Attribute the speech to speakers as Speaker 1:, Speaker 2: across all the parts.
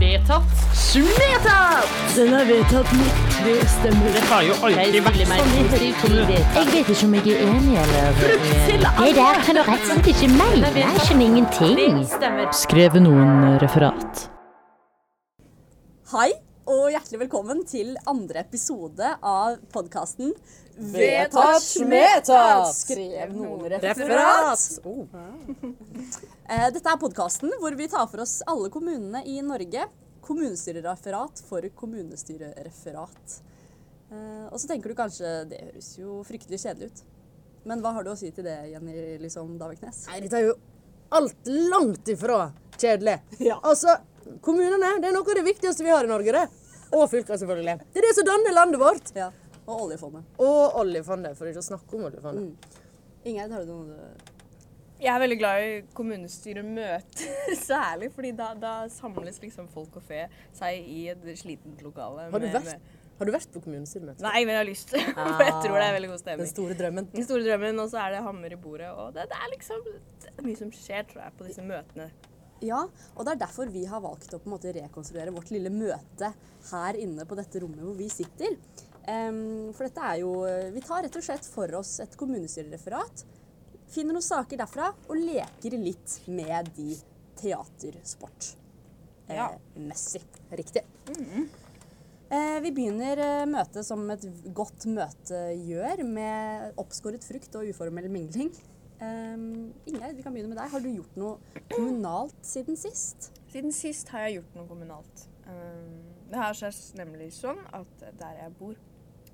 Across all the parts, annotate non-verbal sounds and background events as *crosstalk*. Speaker 1: vedtatt.
Speaker 2: Vedtatt! Den er vedtatt med tre stemmer.
Speaker 3: Det har jo alltid vært sånn i hele kommunen.
Speaker 4: Jeg vet ikke om jeg er enig eller Det der kan du rett og slett ikke mene. Jeg skjønner ingenting.
Speaker 1: Stemmer.
Speaker 2: Skrev noen referat?
Speaker 5: Hei, og hjertelig velkommen til andre episode av podkasten
Speaker 1: Vedtatt smetat!
Speaker 5: Skrev noen
Speaker 1: Referat!
Speaker 6: Oh.
Speaker 5: Eh, Dette er podkasten hvor vi tar for oss alle kommunene i Norge. Kommunestyrereferat for kommunestyrereferat. Eh, Og så tenker du kanskje det høres jo fryktelig kjedelig ut. Men hva har du å si til det, Jenny liksom, Daveknes?
Speaker 6: Nei, dette er jo alt langt ifra kjedelig. Altså, kommunene det er noe av det viktigste vi har i Norge. det. Og fylker, selvfølgelig. Det er det som danner landet vårt.
Speaker 5: Ja, Og oljefondet.
Speaker 6: Og oljefondet, for ikke å snakke om
Speaker 1: Mm.
Speaker 6: oljefondet.
Speaker 5: Ingeid, har du noe du
Speaker 1: Jeg er veldig glad i kommunestyremøter *laughs* særlig, fordi da, da samles liksom folk og fe seg i et slitent lokale.
Speaker 6: Har, du
Speaker 1: med- med-
Speaker 6: vært, har du vært på kommunestyremøte?
Speaker 1: Nei, men jeg har lyst. *laughs* For jeg tror det er veldig god
Speaker 6: Den
Speaker 1: stemning.
Speaker 6: store drømmen.
Speaker 1: Den store drømmen, og så er det hammer i bordet. Og det, det er liksom det er mye som skjer, tror jeg, på disse møtene.
Speaker 5: Ja, og det er derfor vi har valgt å på en måte rekonstruere vårt lille møte her inne på dette rommet hvor vi sitter. Ehm, for dette er jo Vi tar rett og slett for oss et kommunestyrereferat, finner noen saker derfra og leker litt med de teatersportmessig.
Speaker 1: Ja.
Speaker 5: Riktig.
Speaker 6: Mm.
Speaker 5: Eh, vi begynner eh, møtet som et v- godt møte gjør,
Speaker 6: Eh,
Speaker 5: med oppskåret frukt og uformell mingling.
Speaker 6: Ehm,
Speaker 5: Um, Ingeid, vi kan begynne med deg. Har du gjort noe kommunalt siden sist?
Speaker 1: Siden sist har jeg gjort noe kommunalt. Um, Det har seg nemlig sånn at der jeg bor,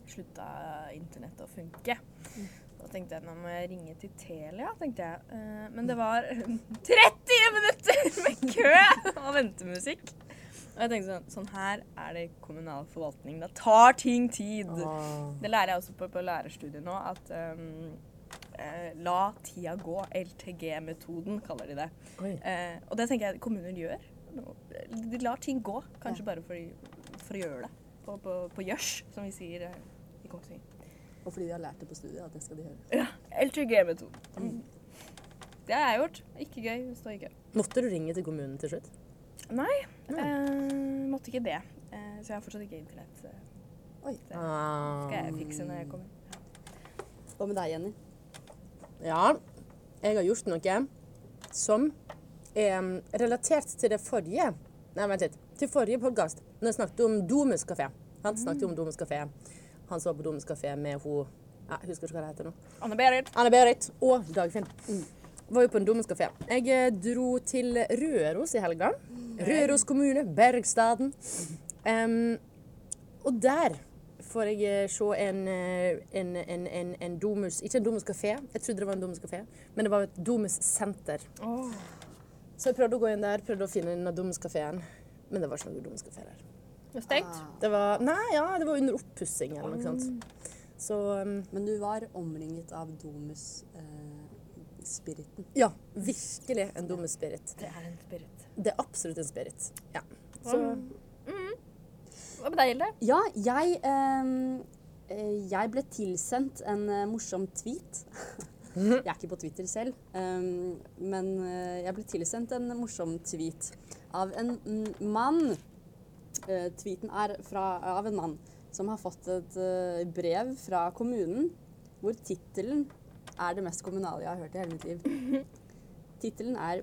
Speaker 1: slutta internettet å funke. Da tenkte jeg nå må jeg ringe til Telia, tenkte jeg. Eh, Men det var *laughs* 30 minutter med kø og ventemusikk. Og jeg tenkte sånn, sånn her er det kommunal forvaltning. Da tar ting tid. Det lærer jeg også på, på lærerstudiet nå, at um, eh, la tida gå. LTG-metoden kaller de det.
Speaker 6: Oi.
Speaker 1: Eh, og det tenker jeg kommuner gjør. De lar ting gå, kanskje bare for, for å gjøre det. På, på, på gjørs, som vi sier eh, i Kongsvinger.
Speaker 5: Og fordi de har lært det på studiet, at det skal de høre.
Speaker 1: LTG-metoden. Mm. Det har jeg gjort. Ikke gøy. Det står ikke.
Speaker 6: Måtte du ringe til kommunen til slutt?
Speaker 1: Nei, eh, måtte ikke det. Eh, så jeg har fortsatt ikke internett. så
Speaker 5: Oi.
Speaker 1: Det skal jeg fikse når jeg kommer.
Speaker 5: Hva med deg, Jenny?
Speaker 6: Ja, jeg har gjort noe som er mm, relatert til det forrige. Nei, vent litt. Til forrige podkast. Når jeg snakket om Domus kafé. Han snakket
Speaker 1: Mm.
Speaker 6: om Domus kafé. Han som var på Domus kafé med hun ja, Jeg husker ikke hva det heter nå.
Speaker 1: Anne Berit.
Speaker 6: Anne-Berit og Dagfinn. Var jo på en dommerskafé. Jeg eh, dro til Røros i helga. Røros kommune, Bergstaden. Em, og der får jeg eh, se en, eh, en, en, en, en domus Ikke en domuskafé, jeg trodde det var en domuskafé, men det var et domussenter. Så jeg prøvde å gå inn der, prøvde å finne denne domuskafeen, men det var ikke noen domuskafé der.
Speaker 1: Det er
Speaker 5: Ah.
Speaker 1: stengt.
Speaker 6: Det var, nei, ja, det var under oppussing eller noe sånt. Så em,
Speaker 5: Men du var omringet av eh, domus-spiriten.
Speaker 6: ja, virkelig en domusspirit.
Speaker 1: Det er en spirit.
Speaker 6: Det er absolutt en spirit. Ja. Mm. Så,
Speaker 1: Hva med deg, Hilde?
Speaker 5: ja, jeg ehm, eh, Jeg ble tilsendt en eh, morsom tweet. Jeg er ikke på Twitter selv, ehm, men eh, jeg ble tilsendt en morsom tweet av en mm, mann. Eh, tweeten er fra, av en mann som har fått et eh, brev fra kommunen hvor tittelen er det mest kommunale jeg har hørt i hele mitt liv. Tittelen er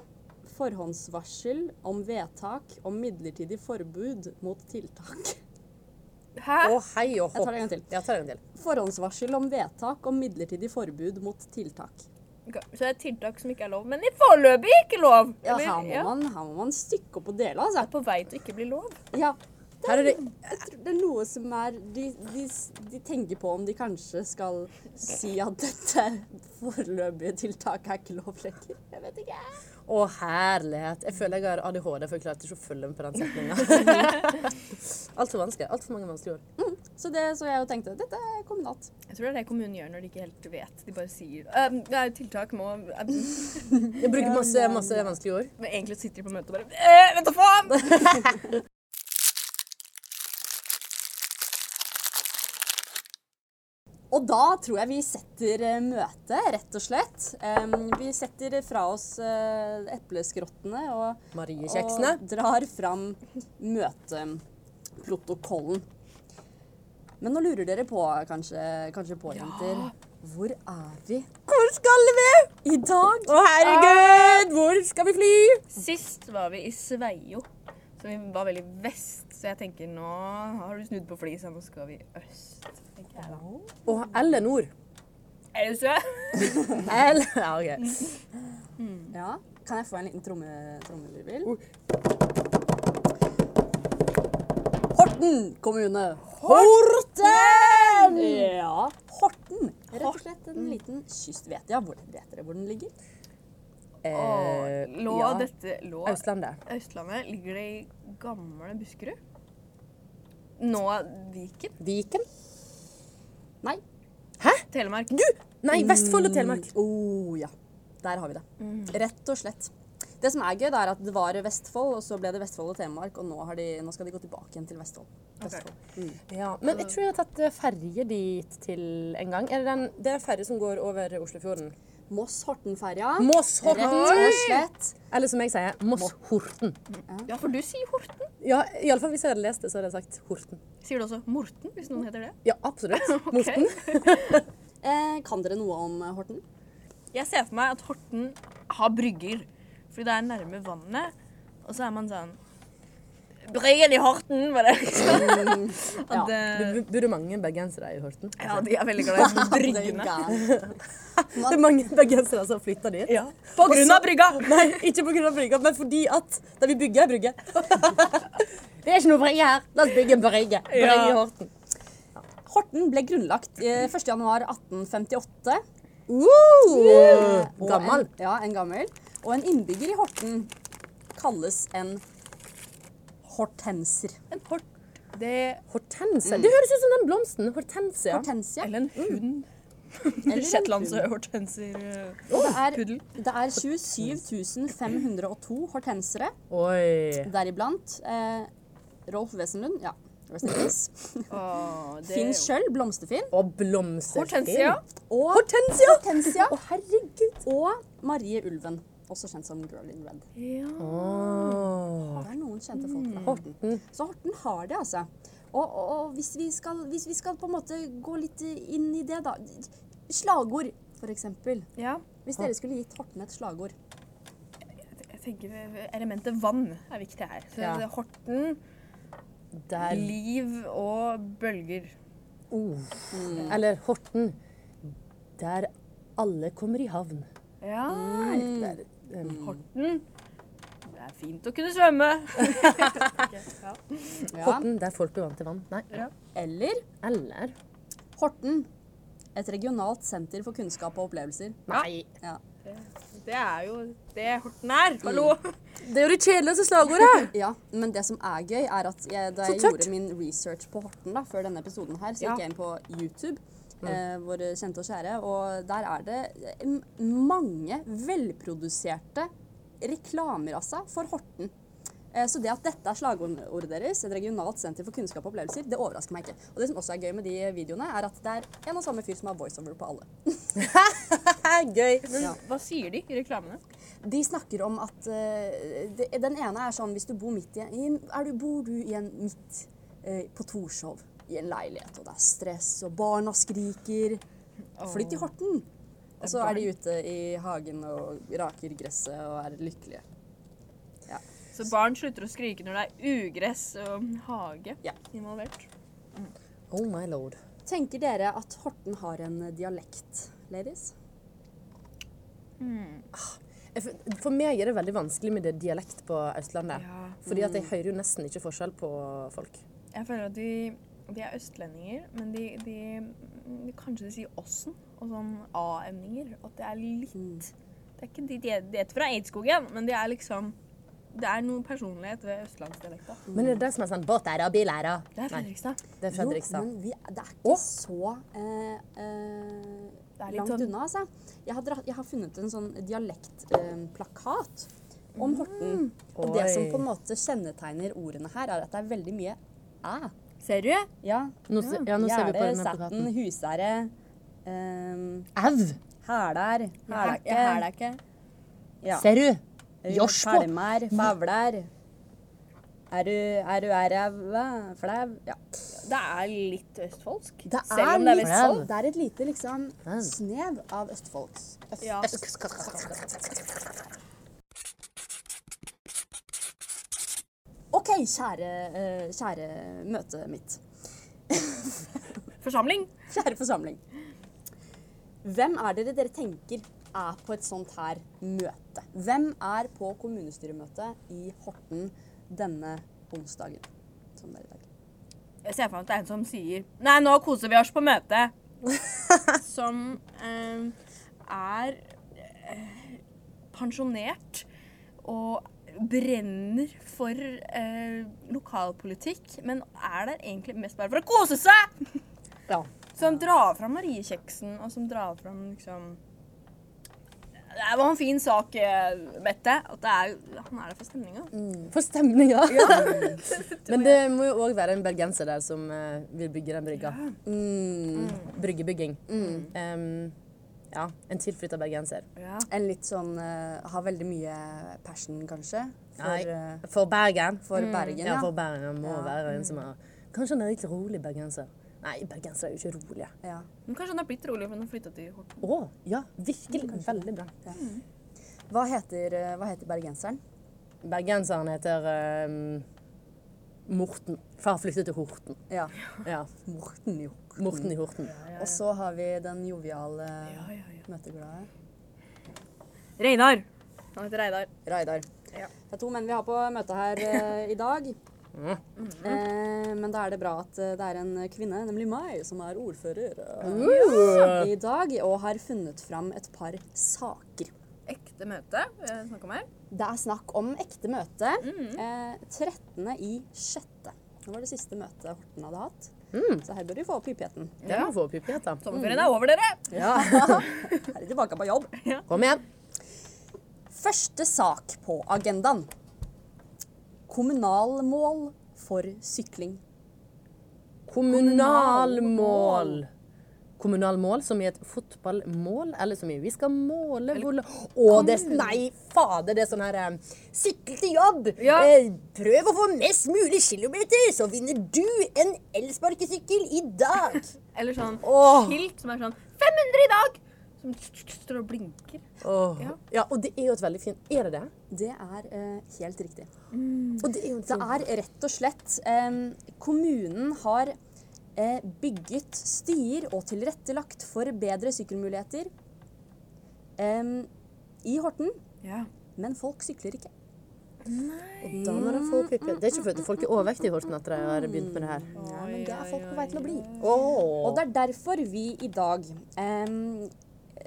Speaker 5: 'Forhåndsvarsel om vedtak om midlertidig forbud mot tiltak'.
Speaker 1: Hæ?
Speaker 6: å hei
Speaker 5: Jeg
Speaker 6: og hopp.
Speaker 5: tar det en gang til.
Speaker 6: Ja, ta det en gang til.
Speaker 5: Forhåndsvarsel om vedtak om midlertidig forbud mot tiltak.
Speaker 1: Ok, Så det er tiltak som ikke er lov, men i foreløpig ikke lov.
Speaker 5: Ja,
Speaker 1: Eller-
Speaker 5: her, må
Speaker 1: ja.
Speaker 5: Man, her må man stykke opp og dele,
Speaker 1: Det er
Speaker 5: altså.
Speaker 1: på vei til å ikke bli lov.
Speaker 5: Ja,
Speaker 6: Her er det,
Speaker 5: jeg tror det er noe som er de, de, de tenker på om de kanskje skal si at dette foreløpige tiltaket er ikke lov lenger. Jeg vet ikke.
Speaker 6: å, herlighet. Jeg føler jeg har ADHD, for jeg klarte ikke å følge med på den *laughs* setninga. Altfor vanskelig. Altfor mange vanskelige ord.
Speaker 5: Så det så jeg og tenkte. Dette er kommunalt.
Speaker 1: Jeg tror det er det kommunen gjør når de ikke helt vet. De bare sier «Ehm, ja, tiltak må ehm»,
Speaker 6: Jeg bruker masse, masse vanskelige ord.
Speaker 1: Men egentlig sitter de på møtet og bare «Eh, Vent da faen!
Speaker 5: Og da tror jeg vi setter eh, møte, rett og slett. Em, vi setter fra oss eh, epleskrottene og,
Speaker 6: Mariekjeksene.
Speaker 5: og drar fram møteprotokollen. Men nå lurer dere på, kanskje, kanskje på, jenter, hvor er vi
Speaker 6: Hvor skal vi?
Speaker 5: i dag?
Speaker 6: Å, herregud! Hvor skal vi fly?
Speaker 1: Sist var vi i Sveio, så vi var veldig vest. Så jeg tenker nå har du snudd på flisa, nå skal vi øst. tenker jeg da.
Speaker 6: Og eller nord.
Speaker 1: Er du søt?
Speaker 6: Eller *laughs* Ja, OK.
Speaker 5: Ja, kan jeg få en liten tromme, trommelvirvel?
Speaker 6: Oi.
Speaker 5: Horten kommune. Horten! Ja, Horten. Mm. Rett og slett en liten kyst. Vet, ja, hvor, vet dere hvor den ligger?
Speaker 1: Å,
Speaker 6: Eh,
Speaker 1: lå
Speaker 6: ja.
Speaker 1: dette lå
Speaker 6: Østlandet.
Speaker 1: Østlandet ligger det i gamle Buskerud. Nå Viken.
Speaker 6: Viken?
Speaker 5: Nei.
Speaker 1: Telemark.
Speaker 6: Du! Nei, Vestfold og Telemark.
Speaker 5: Å ja. Der har vi det. Rett og slett. Det som er gøy, det er at det var Vestfold, og så ble det Vestfold og Telemark, og nå, har de, nå skal de gå tilbake igjen til Vestfold. Vestfold. Mm.
Speaker 6: Ja, men jeg tror jeg har tatt eh, ferje dit til en gang. Er det, den, det er en ferje som går over Oslofjorden.
Speaker 5: Moss-Horten-ferja. Rett
Speaker 6: Moss-Horten.
Speaker 5: og slett.
Speaker 6: Eller som jeg sier, Moss-Horten.
Speaker 1: Ja, for du sier Horten.
Speaker 6: Ja, iallfall hvis jeg hadde lest det, så hadde jeg sagt Horten.
Speaker 1: Sier du også Morten, hvis noen heter det?
Speaker 6: Ja, absolutt. Morten.
Speaker 5: Eh, kan dere noe om eh, Horten?
Speaker 1: Jeg ser for meg at Horten har brygger, fordi det er nærme vannet. Og så er man sånn Bryggen i Horten, var det liksom.
Speaker 5: Ja,
Speaker 1: At, eh,
Speaker 6: Det burde mange bergensere i Horten.
Speaker 1: ja, de er veldig glad i bryggene.
Speaker 5: Bryggene.
Speaker 6: Det er mange bergensere som har flytta dit.
Speaker 1: Ja. På grunn av brygga!
Speaker 6: *laughs* Nei, ikke pga. brygga, men fordi at da vi bygger ei brygge
Speaker 5: *laughs*
Speaker 6: Det er ikke noe brygge her. La oss bygge en brygge. Brygge i Horten.
Speaker 5: Horten ble grunnlagt eh, 1. januar 1858.
Speaker 6: Uh,
Speaker 5: og
Speaker 6: gammel.
Speaker 5: En, ja, en gammel. Og en innbygger i Horten kalles en hortenser.
Speaker 1: En hort, *laughs* det
Speaker 6: Hortense. Mm. Det høres ut som den blomsten. Hortensia.
Speaker 5: Hortensia.
Speaker 1: Eller en hund.
Speaker 5: en
Speaker 1: Shetlandshortenser. uh,
Speaker 5: Og det er,
Speaker 1: puddel.
Speaker 5: det er 27 502 hortensere,
Speaker 6: Oi.
Speaker 5: deriblant eh, Rolf Wesenlund. Ja, rest in peace.
Speaker 1: Åh, det-
Speaker 5: Finn Schjøll, Blomsterfinn.
Speaker 6: Og blomsterfin.
Speaker 1: Hortensia.
Speaker 5: Og
Speaker 6: Hortensia!
Speaker 5: Hortensia.
Speaker 6: Å, herregud.
Speaker 5: Og Marie Ulven, også kjent som Girl in Red.
Speaker 1: Ja.
Speaker 5: Det er noen kjente folk fra
Speaker 6: Mm.
Speaker 5: Horten. Så Horten har det, altså. Og, og, og hvis, vi skal, hvis vi skal på en måte gå litt inn i det, da Slagord, for eksempel.
Speaker 1: ja.
Speaker 5: Hvis dere skulle gitt Horten et slagord
Speaker 1: Jeg tenker eh, elementet vann er viktig her. Så
Speaker 6: Ja.
Speaker 1: det er Horten,
Speaker 6: Der.
Speaker 1: liv og bølger.
Speaker 6: Oh. Eller Horten. Der alle kommer i havn.
Speaker 1: Ja. Mm.
Speaker 6: Der, um,
Speaker 1: Horten. Det er fint å kunne svømme.
Speaker 5: ja.
Speaker 6: Horten der folk blir vant til vann. Nei.
Speaker 5: Eller
Speaker 6: Eller
Speaker 5: Horten. Et regionalt senter for kunnskap og opplevelser.
Speaker 6: Nei.
Speaker 5: Ja.
Speaker 1: Det er jo det Horten er. Hallo!
Speaker 6: Det er jo det kjedeligste slagordet.
Speaker 5: *laughs* ja, Men det som er gøy, er at jeg, da
Speaker 6: Så
Speaker 5: jeg
Speaker 6: tørt.
Speaker 5: gjorde min research på Horten da, før denne episoden her, så
Speaker 1: Ja.
Speaker 5: gikk jeg inn på YouTube,
Speaker 6: Mm.
Speaker 5: eh, våre kjente og kjære, og der er det m- mange velproduserte reklamer altså, for Horten. Eh, Så det at dette er slagordet deres, et regionalt senter for kunnskap og opplevelser, det overrasker meg ikke. Og det som også er gøy med de videoene, er at det er en og samme fyr som har voiceover på alle. *laughs*
Speaker 6: *laughs* Gøy.
Speaker 5: Ja.
Speaker 1: Hva sier de i reklamene?
Speaker 5: De snakker om at eh, det, Den ene er sånn hvis du bor midt i en, i en er du, Bor du i en midt eh, på Torshov i en leilighet, og det er stress, og barna skriker Flytt i Horten! Og så er de ute i hagen og raker gresset og er lykkelige.
Speaker 1: Så barn slutter å skrike når det er ugress og hage
Speaker 5: Ja.
Speaker 1: involvert.
Speaker 6: Oh my lord.
Speaker 5: Tenker dere at Horten har en dialekt, ladies?
Speaker 6: For, for meg er det veldig vanskelig med det dialekt på Østlandet.
Speaker 1: Ja.
Speaker 6: Fordi at jeg hører jo nesten ikke forskjell på folk.
Speaker 1: Jeg føler at de, de er østlendinger, men de, de, mm, Kanskje de sier åssen og sånn a-emninger. At det er litt Det er ikke de de de heter fra Eidskogen, men de er liksom Det er noe personlighet ved østlandsdialekta.
Speaker 6: Men det er det som er sånn båtæra og bilæra.
Speaker 1: Det er Fredrikstad.
Speaker 6: Det er
Speaker 5: Jo,
Speaker 6: Fredrikstad.
Speaker 5: men vi, det er ikke
Speaker 6: Å.
Speaker 5: så eh, eh,
Speaker 1: Det er litt
Speaker 5: langt
Speaker 1: sånn-
Speaker 5: unna, altså. Jeg har, dratt, jeg har funnet en sånn dialektplakat
Speaker 6: Mm.
Speaker 5: om Horten. Og det som
Speaker 6: Oi.
Speaker 5: på en måte kjennetegner ordene her, er at det er veldig mye æ.
Speaker 1: Ser du?
Speaker 5: Ja.
Speaker 6: Nå, se- ja, nå ser vi på
Speaker 5: Gjerde,
Speaker 6: denne plakaten.
Speaker 5: Sæten, Husære, Um,
Speaker 6: Au!
Speaker 5: Hæler. Hælekke.
Speaker 7: Hælekke.
Speaker 5: Ja.
Speaker 6: Ser du? Josh på.
Speaker 5: Pælmer. Favler. Er du, er du æræva? Flau? Ja.
Speaker 1: Det er litt østfoldsk.
Speaker 6: Det
Speaker 5: Selv om det er litt
Speaker 6: flau.
Speaker 5: sånn, det er et lite liksom,
Speaker 6: Mm.
Speaker 5: snev av østfolks. Øst,
Speaker 1: Ja.
Speaker 5: OK, kjære, eh, kjære møtet mitt.
Speaker 1: Forsamling.
Speaker 5: Kjære forsamling. Hvem er dere dere tenker er på et sånt her møte? Hvem er på kommunestyremøte i Horten denne onsdagen? Som det er i dag.
Speaker 1: Jeg ser for meg at det er en som sier Nei, nå koser vi oss på møte. som eh, er eh, pensjonert og brenner for eh, lokalpolitikk, men er der egentlig mest bare for å kose seg!
Speaker 6: Ja.
Speaker 1: Som drar fram Mariekjeksen, og som drar fram liksom Det var en fin sak, eh, Mette. At det er, han er der for stemninga.
Speaker 6: For stemninga. *laughs* Men det må jo òg være en bergenser der som eh, vil bygge den brygga. Mm. Bryggebygging. Mm. Em, ja, en tilflytta bergenser.
Speaker 5: En litt sånn eh, Har veldig mye passion, kanskje,
Speaker 6: Nei,
Speaker 5: for, eh,
Speaker 6: for Bergen. Mm.
Speaker 5: for Bergen.
Speaker 6: Ja,
Speaker 5: Ja.
Speaker 6: for Bergen må være en som
Speaker 1: Mm.
Speaker 6: er Kanskje han er litt rolig bergenser. Nei, bergensere er jo ikke rolige.
Speaker 5: Ja.
Speaker 1: Men kanskje han har blitt rolig fordi han har flytta til Horten.
Speaker 6: Å, ja. Virkelig. Veldig bra.
Speaker 5: Hva, heter, eh, hva heter bergenseren?
Speaker 6: Bergenseren heter em, Morten. For han flyttet til Horten.
Speaker 5: Ja.
Speaker 6: Ja.
Speaker 5: Morten, jo.
Speaker 6: Morten i Horten.
Speaker 5: Og så har vi den joviale, møteglade
Speaker 1: Reinar. Han heter Reidar.
Speaker 5: Reidar. Det er to menn vi har på møtet her eh, i dag. Eh, men da er det bra at eh, det er en kvinne, nemlig meg, som er ordfører eh, i dag. Og har funnet fram et par saker.
Speaker 1: Ekte møte. vi snakker om her.
Speaker 5: Det er snakk om ekte møte. Eh, 13. i 6. Det var det siste møtet Horten hadde hatt. Så her bør de få opp hyppigheten.
Speaker 6: Det må få pipjeta.
Speaker 1: Sommerferien er over, dere!
Speaker 5: *laughs* Her er de tilbake på jobb.
Speaker 6: Kom igjen.
Speaker 5: Første sak på agendaen. Kommunalmål for sykling.
Speaker 6: Kommunalmål. Kommunalmål som i et fotballmål, eller som i vi skal måle hvor la- Å, det er Nei, fader, det er sånn her eh, Sykle til jobb!
Speaker 1: Ja.
Speaker 6: Eh, prøv å få mest mulig kilometer, så vinner du en elsparkesykkel i dag!
Speaker 1: Eller sånn
Speaker 6: Åh.
Speaker 1: skilt som er sånn 500 i dag! Som står og blinker.
Speaker 6: Åh. Ja, og det er jo et veldig fint Er det det?
Speaker 5: Det er eh, helt riktig.
Speaker 6: Og Mm. det er jo en
Speaker 5: Det
Speaker 6: fin
Speaker 5: er rett og slett eh, Kommunen har eh, bygget stier og tilrettelagt for bedre sykkelmuligheter eh, i Horten,
Speaker 1: Ja.
Speaker 5: men folk sykler ikke.
Speaker 6: Da må de få pipe. Det er ikke fordi folk er overvektige i Horten at de har begynt med det her.
Speaker 5: Ja, men det er folk på vei til å bli. Og
Speaker 6: Åh.
Speaker 5: det er derfor vi i dag eh,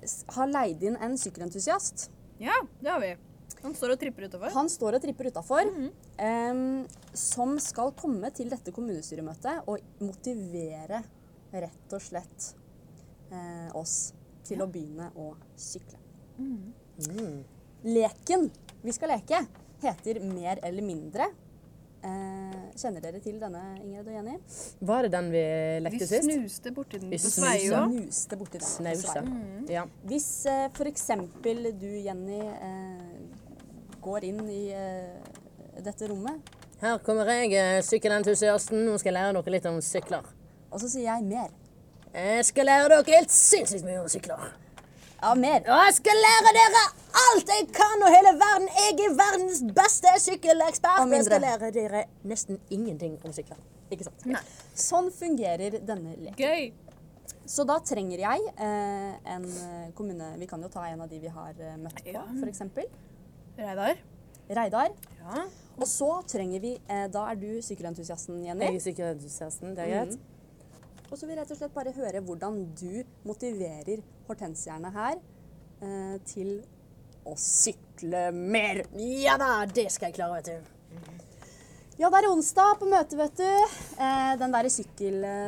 Speaker 5: s- har leid inn en sykkelentusiast.
Speaker 1: ja, det har vi. Han står og tripper utover.
Speaker 5: Han står og tripper utafor, em, som skal komme til dette kommunestyremøtet og motivere rett og slett eh, oss til å begynne å sykle. Leken vi skal leke, heter Mer eller mindre. Eh, kjenner dere til denne, Ingrid og Jenny?
Speaker 6: Var det den vi
Speaker 1: Vi
Speaker 6: lekte sist?
Speaker 1: snuste borti den
Speaker 6: Vi
Speaker 1: på Sveio.
Speaker 5: Snuste borti den.
Speaker 6: Snausa. Ja.
Speaker 5: Hvis eh, f.eks. du, Jenny, eh, går inn i eh, dette rommet
Speaker 6: Her kommer jeg, eh, sykkelentusiasten. Nå skal jeg lære dere litt om sykler.
Speaker 5: Og så sier jeg mer.
Speaker 6: Jeg skal lære dere helt sinnssykt mye om sykler.
Speaker 5: Ja, mer.
Speaker 6: Og jeg skal lære dere alt jeg kan og hele verden. Jeg er verdens beste sykkelekspert.
Speaker 5: Og
Speaker 6: Og jeg skal
Speaker 5: mindre.
Speaker 6: lære dere nesten ingenting om sykler.
Speaker 5: Ikke sant? Sånn fungerer denne leken.
Speaker 1: Gøy.
Speaker 5: Så da trenger jeg eh, en eh, kommune Vi kan jo ta en av de vi har eh, møtt på,
Speaker 1: Ja.
Speaker 5: for f.eks.
Speaker 1: Reidar.
Speaker 5: Reidar.
Speaker 1: Ja.
Speaker 5: Og så trenger vi eh, Da er du sykkelentusiasten, Jenny. Mm.
Speaker 6: Jeg er sykkelentusiasten, det er greit.
Speaker 5: Og så vil jeg rett og slett bare høre hvordan du motiverer hortensierne her eh, til å sykle mer.
Speaker 6: Ja da, det skal jeg klare, vet du.
Speaker 5: Ja, det er onsdag på møtet, vet du. Eh, den derre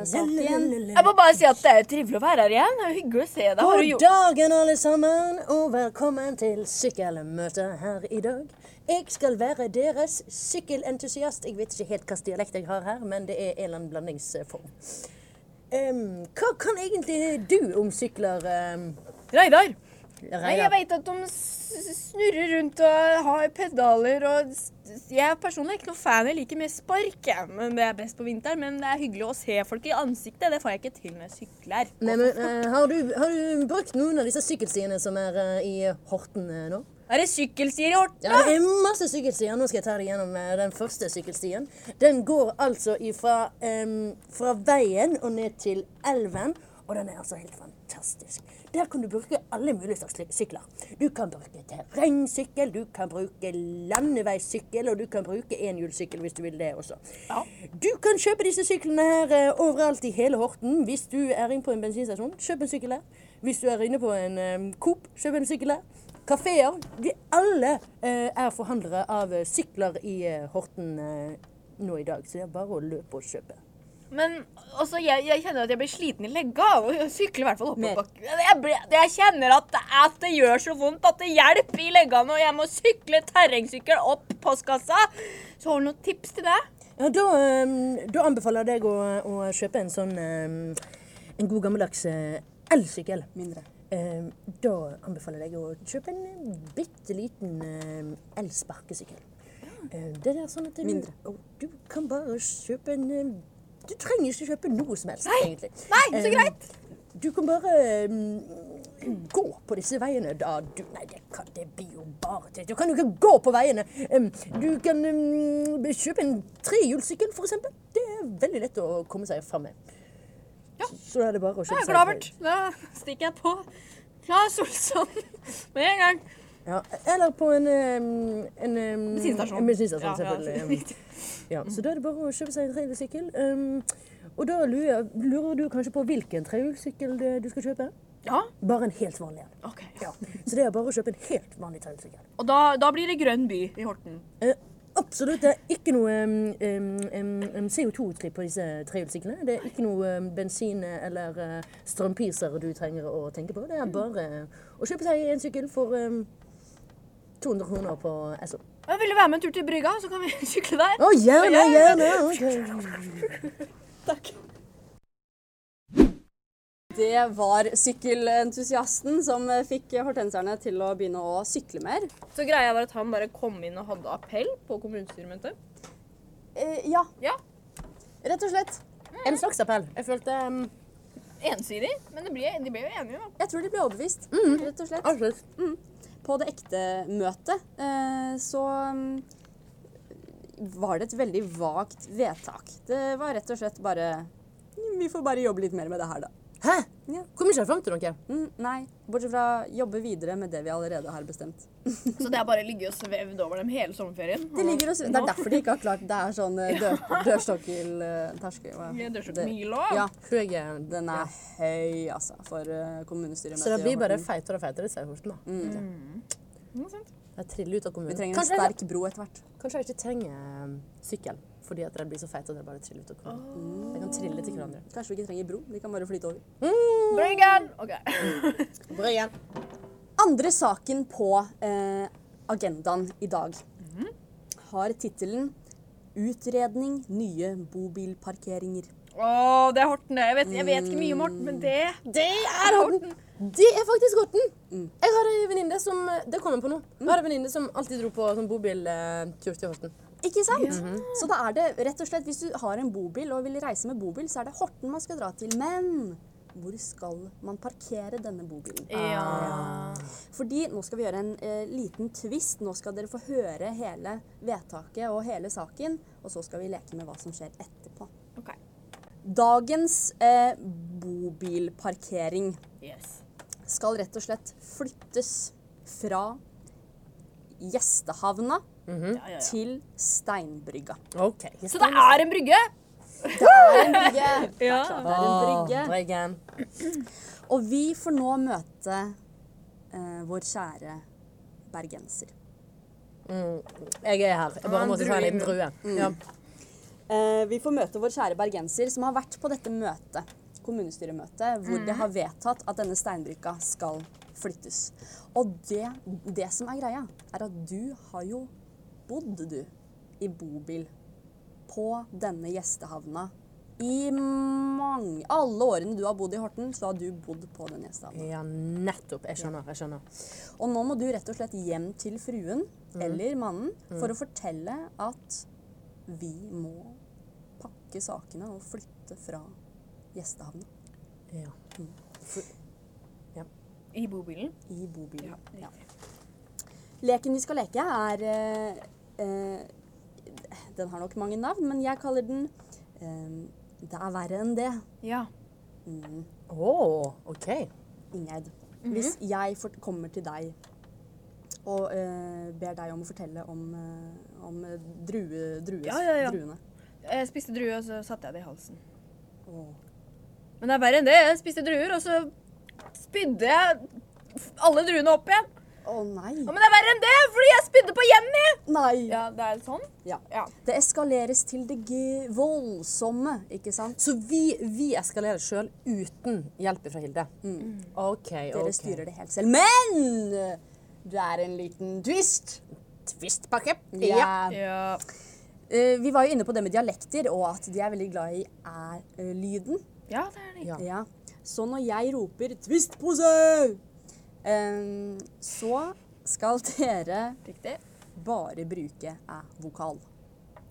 Speaker 5: sykkelsaken.
Speaker 1: Jeg må bare si at det er trivelig å være her igjen. Det er hyggelig å se deg. Har du
Speaker 6: God
Speaker 1: gjort
Speaker 6: dagen, alle sammen, og velkommen til sykkelmøtet her i dag. Jeg skal være deres sykkelentusiast. Jeg vet ikke helt hvilken dialekt jeg har her, men det er en eller annen blandingsform. Em, hva kan egentlig du om sykler? em,
Speaker 1: Reidar! Nei, jeg
Speaker 6: Reidar?
Speaker 1: veit at de s- snurrer rundt og har pedaler og s- s- Jeg er personlig ikke noe fan. Jeg liker mer spark, jeg. Men det er best på vinteren. Men det er hyggelig å se folk i ansiktet. Det får jeg ikke til når jeg sykler.
Speaker 6: Nei, men, eh, har, du, har du brukt noen av disse sykkelstiene som er eh, i Horten eh, nå?
Speaker 1: Er det sykkelstier i Horten?
Speaker 6: Ja, det er masse sykkelstier. Nå skal jeg ta deg gjennom eh, den første sykkelstien. Den går altså ifra, em, fra veien og ned til elven, og den er altså helt fantastisk. Der kan du bruke alle mulige slags slik- sykler. Du kan bruke terrengsykkel, du kan bruke landeveissykkel, og du kan bruke enhjulssykkel hvis du vil det også. Du kan kjøpe disse syklene her eh, overalt i hele Horten hvis du er inne på en bensinstasjon. Kjøp en sykkel der. Hvis du er inne på en em, Coop, kjøp en sykkel der. Kafeer. De alle eh, er forhandlere av eh, sykler i eh, Horten eh, nå i dag, så det er bare å løpe og kjøpe.
Speaker 1: Men altså, jeg, jeg kjenner at jeg blir sliten i legga av å sykle i hvert fall
Speaker 6: Mer.
Speaker 1: oppoverbakke. Jeg, blir- jeg kjenner at det, at det gjør så vondt at det hjelper i legga når jeg må sykle terrengsykkel opp postkassa. Så har du noen tips til det?
Speaker 6: Ja, da, em, da anbefaler jeg deg å, å kjøpe en sånn em, en god gammeldags eh, elsykkel.
Speaker 5: Mindre.
Speaker 6: Em, Ehm, da anbefaler jeg deg å kjøpe en eh, bitte liten em, elsparkesykkel. Eh, Det der er sånn at du,
Speaker 5: Mindre.
Speaker 6: og du kan bare kjøpe en em, Du trenger ikke kjøpe noe som helst, egentlig.
Speaker 1: Nei, så
Speaker 6: Em,
Speaker 1: greit.
Speaker 6: Du kan bare em, gå på disse veiene da du Nei, det, kan, det blir jo bare til. Du kan jo ikke gå på veiene. Em, du kan em, kjøpe en trehjulssykkel, for eksempel. Det er veldig lett å komme seg fram med.
Speaker 1: Ja.
Speaker 6: Så da er det bare å
Speaker 1: Det
Speaker 6: kjøpe
Speaker 1: er glavert. Da stikker jeg på. Klar Solsson *laughs* med en gang.
Speaker 6: Ja, eller på en, em, en em,
Speaker 1: Bensinstasjon.
Speaker 6: En bensinstasjon,
Speaker 1: Ja, ja,
Speaker 6: selvfølgelig.
Speaker 1: *laughs*
Speaker 6: Em,
Speaker 1: Mm.
Speaker 6: Ja, så da er det bare å kjøpe seg en trehjulssykkel. Em, og da lurer, lurer du kanskje på hvilken trehjulssykkel det- du skal kjøpe?
Speaker 1: Ja,
Speaker 6: Bare en helt vanlig en.
Speaker 1: ok.
Speaker 6: Ja. Så det er bare å kjøpe en helt vanlig trehjulssykkel.
Speaker 1: Og da, da blir det grønn by i Horten.
Speaker 6: Eh, absolutt. Det er ikke noe em, em, em, em, CO2-tripp på disse trehjulssyklene. Det er ikke noe em, bensin eller eh, strømpriser du trenger å tenke på. Det er bare å kjøpe seg en sykkel for em, 200 kroner på SO.
Speaker 1: Jeg vil du være med en tur til brygga, så kan vi *laughs* sykle der.
Speaker 6: Å, gjerne, gjerne! ok.
Speaker 5: Det var sykkelentusiasten som eh, fikk eh, hortenserne til å begynne å sykle mer.
Speaker 1: Så greia var at han bare kom inn og hadde appell på kommunestyremøtet.
Speaker 5: Eh, ja,
Speaker 1: Ja,
Speaker 5: rett og slett.
Speaker 6: En slags appell. Jeg følte em,
Speaker 1: ensidig, men det ble, de ble jo enige da.
Speaker 5: Jeg tror de ble overbevist, rett og slett.
Speaker 6: Absolutt.
Speaker 5: Mm. På det ekte møtet eh, så mm, var det et veldig vagt vedtak. Det var rett og slett bare "Mm, Vi får bare jobbe litt mer med det her, da.
Speaker 6: Hæ?
Speaker 5: Ja.
Speaker 6: Kom ikke fram til noe.
Speaker 5: Mm, nei, bortsett fra jobbe videre med det vi allerede har bestemt.
Speaker 1: Så det har bare ligget og svevd over dem hele sommerferien.
Speaker 5: Det, ligger også, det er derfor de ikke har klart Det er sånn eh, *laughs* dør, eh, dørstokkel-terskel.
Speaker 1: Ja, dørstokkelmil også.
Speaker 5: Ja,
Speaker 6: eh,
Speaker 5: den er høy, altså, for eh, kommunestyremøtet.
Speaker 6: Så det
Speaker 5: i
Speaker 6: blir bare
Speaker 5: Horten.
Speaker 6: feitere og feitere, sier Horten. da. Jeg triller ut av kommunen.
Speaker 5: Mm. Vi trenger en
Speaker 6: kanskje, jeg-
Speaker 5: sterk bro etter hvert.
Speaker 6: kanskje jeg ikke trenger um, sykkel, fordi at den blir så feit at den bare triller ut av kommunen. Jeg kan trille til hverandre.
Speaker 5: Kanskje vi ikke trenger bro, de kan bare flyte over.
Speaker 1: Bryggen! Ok.
Speaker 5: Andre saken på eh, agendaen i dag har tittelen 'Utredning nye bobilparkeringer'.
Speaker 1: Åh, det er Horten det. Jeg vet, jeg vet ikke mye om Horten, men det...
Speaker 6: Det er Horten! Det er faktisk Horten!
Speaker 5: Mm.
Speaker 6: Jeg har ei venninne som eh, Det kommer på nå. Jeg har en venninne som alltid dro på sånn bobiltur til Horten.
Speaker 5: Ikke sant? Så da er det rett og slett, hvis du har en bobil og vil reise med bobil, så er det Horten man skal dra til. Men hvor skal man parkere denne bobilen?
Speaker 1: Ja.
Speaker 5: Fordi nå skal vi gjøre en eh, liten twist. Nå skal dere få høre hele vedtaket og hele saken, og så skal vi leke med hva som skjer etterpå.
Speaker 1: Ok.
Speaker 5: Dagens eh, bobilparkering
Speaker 1: Yes.
Speaker 5: skal rett og slett flyttes fra gjestehavna
Speaker 1: Ja, ja, ja.
Speaker 5: til
Speaker 1: *laughs*
Speaker 5: Steinbrygga.
Speaker 6: OK.
Speaker 1: Så det er en brygge?
Speaker 5: Det er klart det er en
Speaker 1: Ah.
Speaker 5: brygge.
Speaker 6: Bryggen.
Speaker 5: Og vi får nå møte eh, vår kjære bergenser.
Speaker 6: Jeg er her. Jeg bare
Speaker 1: en
Speaker 6: måtte
Speaker 1: drue
Speaker 6: ta
Speaker 1: i
Speaker 6: en liten drue. Ja.
Speaker 5: Mm. Eh, vi får møte vår kjære bergenser som har vært på dette møtet, kommunestyremøtet, hvor det har vedtatt at denne steinbrykka skal flyttes. Og det, det som er greia, er at du har jo bodd, du, i bobil på denne gjestehavna I mange, alle årene du har bodd i Horten, så har du bodd på den gjestehavna.
Speaker 8: Ja, nettopp. Jeg skjønner. jeg skjønner.
Speaker 5: Og nå må du rett og slett hjem til fruen
Speaker 1: Mm.
Speaker 5: eller mannen for å fortelle at vi må pakke sakene og flytte fra gjestehavna
Speaker 8: Ja.
Speaker 1: I bobilen.
Speaker 5: i bobilen. Ja. Leken vi skal leke, er eh, eh, Den har nok mange navn, men jeg kaller den eh, Det er verre enn det.
Speaker 1: Ja.
Speaker 8: Å, OK.
Speaker 5: Ingeid,
Speaker 1: Mhm.
Speaker 5: hvis jeg fort- kommer til deg og eh, ber deg om å fortelle om, eh, om eh, drue, drues,
Speaker 1: Ja, ja, ja.
Speaker 5: druene
Speaker 1: Jeg Eh, spiste drue, og så satte jeg det i halsen.
Speaker 5: Åh.
Speaker 1: Men det er verre enn det. Jeg spiste druer, og så spydde jeg f- alle druene opp igjen.
Speaker 5: Å nei!
Speaker 1: Ja, men det er verre enn det, fordi jeg spydde på Jenny!
Speaker 5: Nei!
Speaker 1: Ja, det er sånn.
Speaker 5: Ja.
Speaker 1: Ja.
Speaker 5: Det eskaleres til det g voldsomme, ikke sant?
Speaker 8: Så vi, vi eskalerer sjøl uten hjelp fra Hilde.
Speaker 6: Mm.
Speaker 8: OK.
Speaker 5: Dere styrer Mm. det helt selv. Men det er en liten twist.
Speaker 8: Twistpakke.
Speaker 5: Ja.
Speaker 1: Ja.
Speaker 5: Eh, vi var jo inne på det med dialekter, og at de er veldig glad i æ-lyden.
Speaker 1: ja, det er det.
Speaker 8: Ja.
Speaker 5: Ja. Så når jeg roper 'twistpose', ehm, så skal dere
Speaker 1: Riktig.
Speaker 5: bare bruke æ-vokal.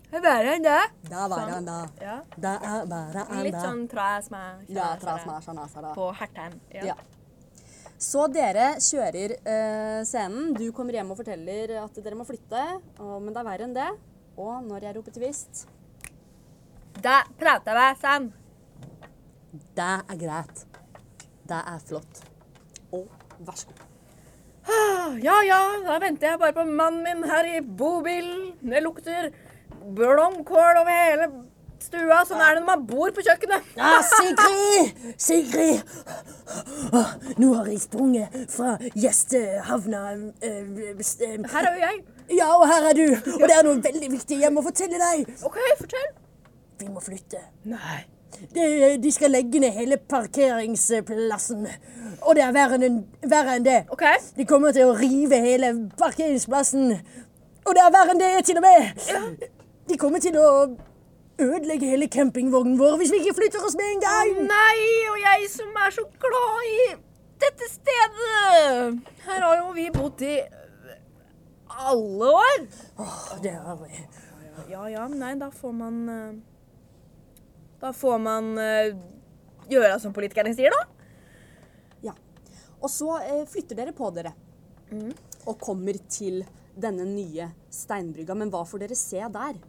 Speaker 1: Det er verre enn det.
Speaker 5: Da var han da.
Speaker 1: Ja.
Speaker 5: Da er bare han
Speaker 1: Litt
Speaker 5: da.
Speaker 1: sånn trasma.
Speaker 5: Ja, trasma, sjana, sara.
Speaker 1: På Hertheim.
Speaker 5: Ja. Så dere kjører eh, scenen. Du kommer hjem og forteller at dere må flytte, og, men det er verre enn det. Og når jeg roper tvist
Speaker 1: Da prater vi sånn. sammen.
Speaker 8: Det er greit. Det er flott.
Speaker 5: Og vær så god.
Speaker 1: Ja, ja, da venter jeg bare på mannen min her i bobilen. Det lukter blomkål over hele stua. Sånn er det når man bor på kjøkkenet.
Speaker 6: Ja, Sigrid! Sigrid! Åh, Nå har jeg sprunget fra gjestehavna eh, s- eh,
Speaker 1: Her er jo jeg.
Speaker 6: Ja, og her er du! Og det er noe veldig viktig jeg må fortelle deg!
Speaker 1: OK, fortell.
Speaker 6: Vi må flytte.
Speaker 1: Nei.
Speaker 6: De, de skal legge ned hele parkeringsplassen. Og det er verre enn, verre enn det.
Speaker 1: OK.
Speaker 6: De kommer til å rive hele parkeringsplassen. Og det er verre enn det, til og med. De kommer til å ødelegge hele campingvognen vår hvis vi ikke flytter oss med en gang.
Speaker 1: Nei, og jeg som er så glad i dette stedet. Her har jo vi bodd i alle år.
Speaker 6: Åh, det har vi.
Speaker 1: Ja ja, men nei, da får man eh, Da får man eh, gjøre som politikerne sier, da.
Speaker 5: Ja. Og så eh, flytter dere på dere. Mm. Og kommer til denne nye steinbrygga. Men hva får dere se der?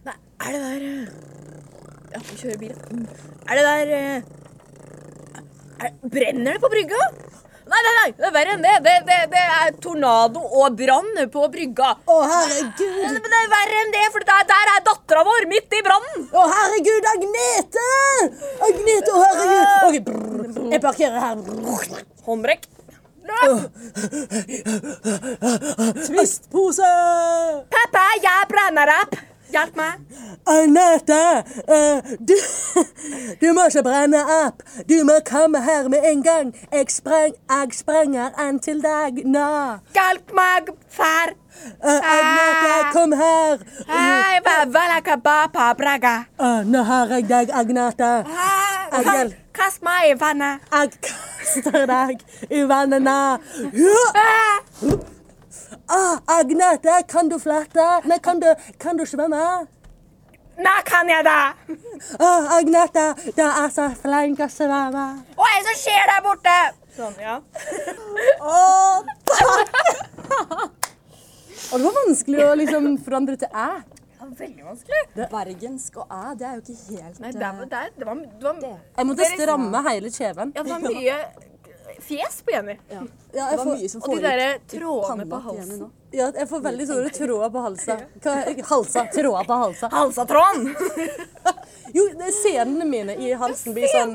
Speaker 1: Nei, er det der eh, Ja, vi kjører bil. Er det der eh, er, Brenner det på brygga? Nei, nei, nei, det er verre enn det. Det, det, det er tornado og brann på brygga.
Speaker 6: Å, herregud!
Speaker 1: Men det er verre enn det, for der, der er dattera vår midt i brannen.
Speaker 6: Å, herregud, Agnete! Agnete, å, herregud! Ok, brr, jeg parkerer her. Brr.
Speaker 1: Håndbrekk. Løp!
Speaker 6: Twistpose!
Speaker 1: Pappa, jeg brenner opp. Hjelp meg.
Speaker 6: Agnete, eh, du, du må ikke brenne opp. Du må komme her med en gang. Jeg, spreng, jeg sprenger en til deg nå.
Speaker 1: Hjelp meg, far.
Speaker 6: Eh, Agnete, kom her.
Speaker 1: Hei, hva vil jeg kebab på brygga?
Speaker 6: Å, Eh, nå har jeg deg, Agnete.
Speaker 1: Hei,
Speaker 6: Agel.
Speaker 1: Kast meg i vannet.
Speaker 6: Jeg kaster deg i vannet nå. Ja!
Speaker 1: Ah!
Speaker 6: Ah, Agnete, kan du flette? Nei, kan du, kan du svømme?
Speaker 1: Nå kan jeg det!
Speaker 6: Ah, Agnete, du er så flink å svømme.
Speaker 1: Hva er det som skjer der borte? Sånn, ja.
Speaker 8: Og det var vanskelig å liksom forandre til æ.
Speaker 1: Veldig vanskelig.
Speaker 5: Bergensk og æ, det er jo ikke helt
Speaker 1: Nei,
Speaker 5: eh,
Speaker 1: det, var, det, det, var, det, var,
Speaker 8: Jeg måtte stramme hele kjeven.
Speaker 1: ja, det var mye fjes på Jenny.
Speaker 5: ja.
Speaker 8: Ja,
Speaker 5: Det
Speaker 8: jeg
Speaker 5: var
Speaker 8: får,
Speaker 5: mye som
Speaker 1: Og de
Speaker 5: foregikk
Speaker 1: der
Speaker 5: i panna
Speaker 1: trådene på
Speaker 5: til Jenny
Speaker 1: halsen.
Speaker 5: nå.
Speaker 8: ja, jeg får veldig sånne tråder på halsa. Hva, halsa, tråder på halsa.
Speaker 1: Halsatråden!
Speaker 8: Jo, det er senene mine i halsen blir sånn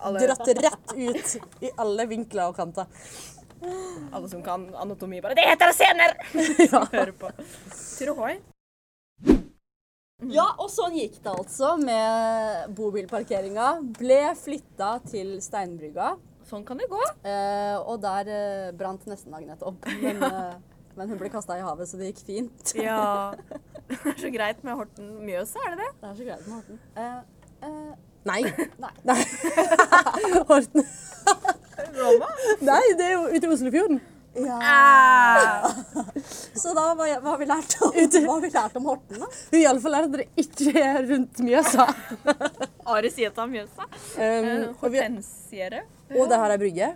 Speaker 1: Alle,
Speaker 8: dratt rett ut i alle vinkler og kanter.
Speaker 1: alle som kan anatomi, bare Det heter
Speaker 5: *laughs*
Speaker 1: sener! Hører på. Tirohoi.
Speaker 5: Ja, og sånn gikk det altså med bobilparkeringa. Ble flytta til Steinbrygga,
Speaker 1: Sånn kan det gå.
Speaker 5: eh, og der eh, *laughs* brant nesten Agnete opp. Men, eh, men hun ble kasta i havet, så det gikk fint.
Speaker 1: Ja. *laughs* Det er så greit med Horten Mjøsa, er det det?
Speaker 5: Det er så greit med Horten. Eh, eh,
Speaker 6: *laughs* Nei.
Speaker 5: nei.
Speaker 6: Horten.
Speaker 1: Roma?
Speaker 6: Nei, det er jo ute i Oslofjorden.
Speaker 5: Så da, hva, hva har vi lært om, hva har vi lært om Horten, da?
Speaker 6: Hun iallfall er at dere ikke er rundt Mjøsa.
Speaker 1: Are Sieta Mjøsa. Eh,
Speaker 6: Um, og, vi,
Speaker 1: Hortensiere.
Speaker 6: og det her er brygge.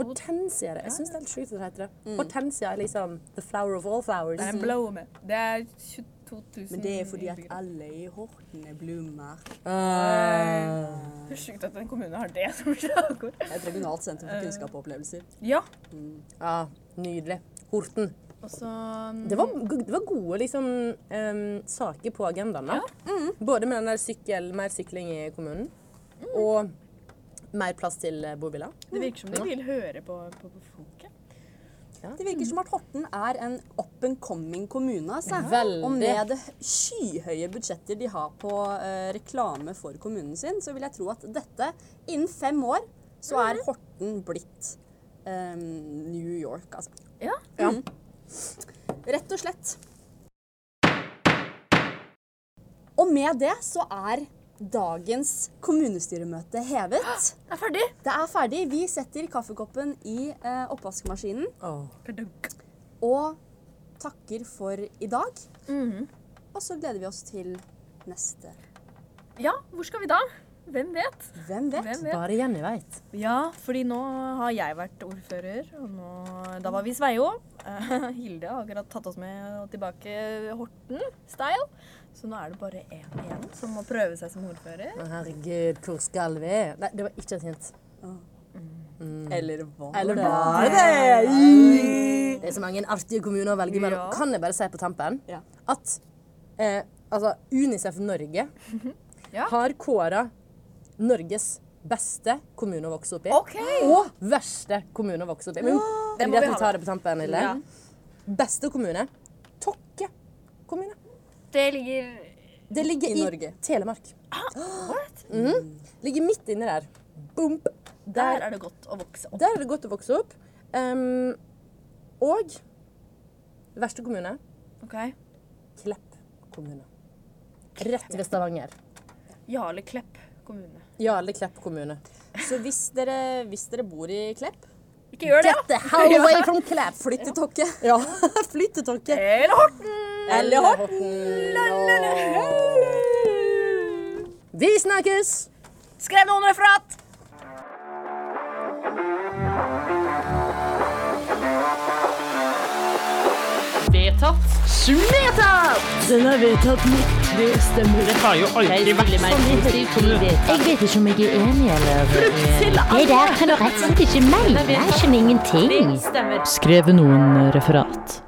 Speaker 6: Hortensia. Jeg syns det er helt sjukt at det heter det. Hortensia er liksom the flower of all flowers.
Speaker 1: Det er en blåme. Det er 22 000
Speaker 5: Men det er fordi at
Speaker 1: innbyggere.
Speaker 5: alle i Horten er bloomer.
Speaker 6: Ah.
Speaker 1: Det er sjukt at en kommune har det som slagord.
Speaker 5: Et regionalt senter for kunnskap og opplevelser.
Speaker 1: Ja.
Speaker 6: Ja, nydelig. Horten.
Speaker 1: Og så um,
Speaker 6: Det var, det var gode liksom, em, saker på agendaen. da. Både med den der sykkel, mer sykling i kommunen, og mer plass til eh, bobiler.
Speaker 1: Det virker som de vil høre på, på, på folket.
Speaker 5: Det virker som at Horten er en up and coming kommune. Altså.
Speaker 6: veldig.
Speaker 5: Og med det skyhøye budsjetter de har på eh, reklame for kommunen sin, så vil jeg tro at dette, innen fem år, så er Horten blitt eh, New York, altså.
Speaker 1: Ja.
Speaker 5: Mhm. Rett og slett. Og med det så er dagens kommunestyremøte hevet.
Speaker 1: Jeg er ferdig.
Speaker 5: Det er ferdig. Vi setter kaffekoppen i eh, oppvaskmaskinen og takker for i dag.
Speaker 1: Mm.
Speaker 5: Og så gleder vi oss til neste.
Speaker 1: Ja, hvor skal vi da? Hvem vet?
Speaker 5: Hvem vet?
Speaker 1: Hvem vet?
Speaker 6: Bare Jenny veit.
Speaker 1: Ja, fordi nå har jeg vært ordfører, og nå, da var vi i Sveio. Eh, *laughs* Hilde har akkurat tatt oss med tilbake Horten-style. Så nå er det bare én igjen som må prøve seg som ordfører.
Speaker 6: Herregud, hvor skal vi? Nei, det var ikke et hint.
Speaker 5: Eller hva?
Speaker 6: Eller var det? Det er så mange artige kommuner å velge mellom.
Speaker 1: Ja.
Speaker 6: Kan jeg bare si på tampen
Speaker 5: Ja.
Speaker 6: at eh, altså Unicef Norge
Speaker 1: *laughs* Ja.
Speaker 6: har kåra Norges beste kommune å vokse opp i.
Speaker 1: OK!
Speaker 6: Og verste kommune å vokse opp i. Men det er
Speaker 1: må vi
Speaker 6: derfor
Speaker 1: ha
Speaker 6: vi tar det på tampen. Lille.
Speaker 1: Ja.
Speaker 6: Beste kommune Tokke kommune.
Speaker 1: Det ligger
Speaker 6: Det ligger
Speaker 5: I
Speaker 6: i,
Speaker 5: Norge.
Speaker 6: Telemark.
Speaker 1: Ah,
Speaker 6: Mhm.
Speaker 1: What?
Speaker 6: Ligger midt inni der. Bump.
Speaker 1: Der
Speaker 6: Der,
Speaker 1: er det godt å vokse opp.
Speaker 6: der er det godt å vokse opp. Ehm, og verste kommune
Speaker 1: OK.
Speaker 6: Klepp kommune. Rett ved Stavanger.
Speaker 1: Jarle Klepp kommune.
Speaker 6: Jarle Klepp kommune.
Speaker 5: Så hvis dere, hvis dere bor i Klepp,
Speaker 1: Ikke gjør det, da!
Speaker 6: The hell *laughs* away from Klepp!
Speaker 5: flytt til Tokke.
Speaker 6: Ja, *laughs* flytt til Tokke.
Speaker 1: Eller Horten!
Speaker 6: Eller Horten. Åh. Vi snakkes!
Speaker 1: Skrev noen referat!
Speaker 3: Vedtatt.
Speaker 4: Den er vedtatt med tre stemmer.
Speaker 3: Har jo
Speaker 4: Jeg
Speaker 3: aldri vært
Speaker 4: stiller meg
Speaker 3: sånn
Speaker 4: positiv
Speaker 3: tidligere.
Speaker 4: Jeg vet ikke om jeg er enig eller uenig. Det der kan du rett og slett ikke melde. Det er som ingenting.
Speaker 3: Stemmer.
Speaker 4: Skrevet noen referat.